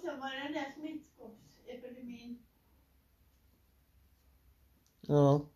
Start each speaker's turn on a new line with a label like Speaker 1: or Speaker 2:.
Speaker 1: sen var det den där smittkoppsepidemin.
Speaker 2: Ja.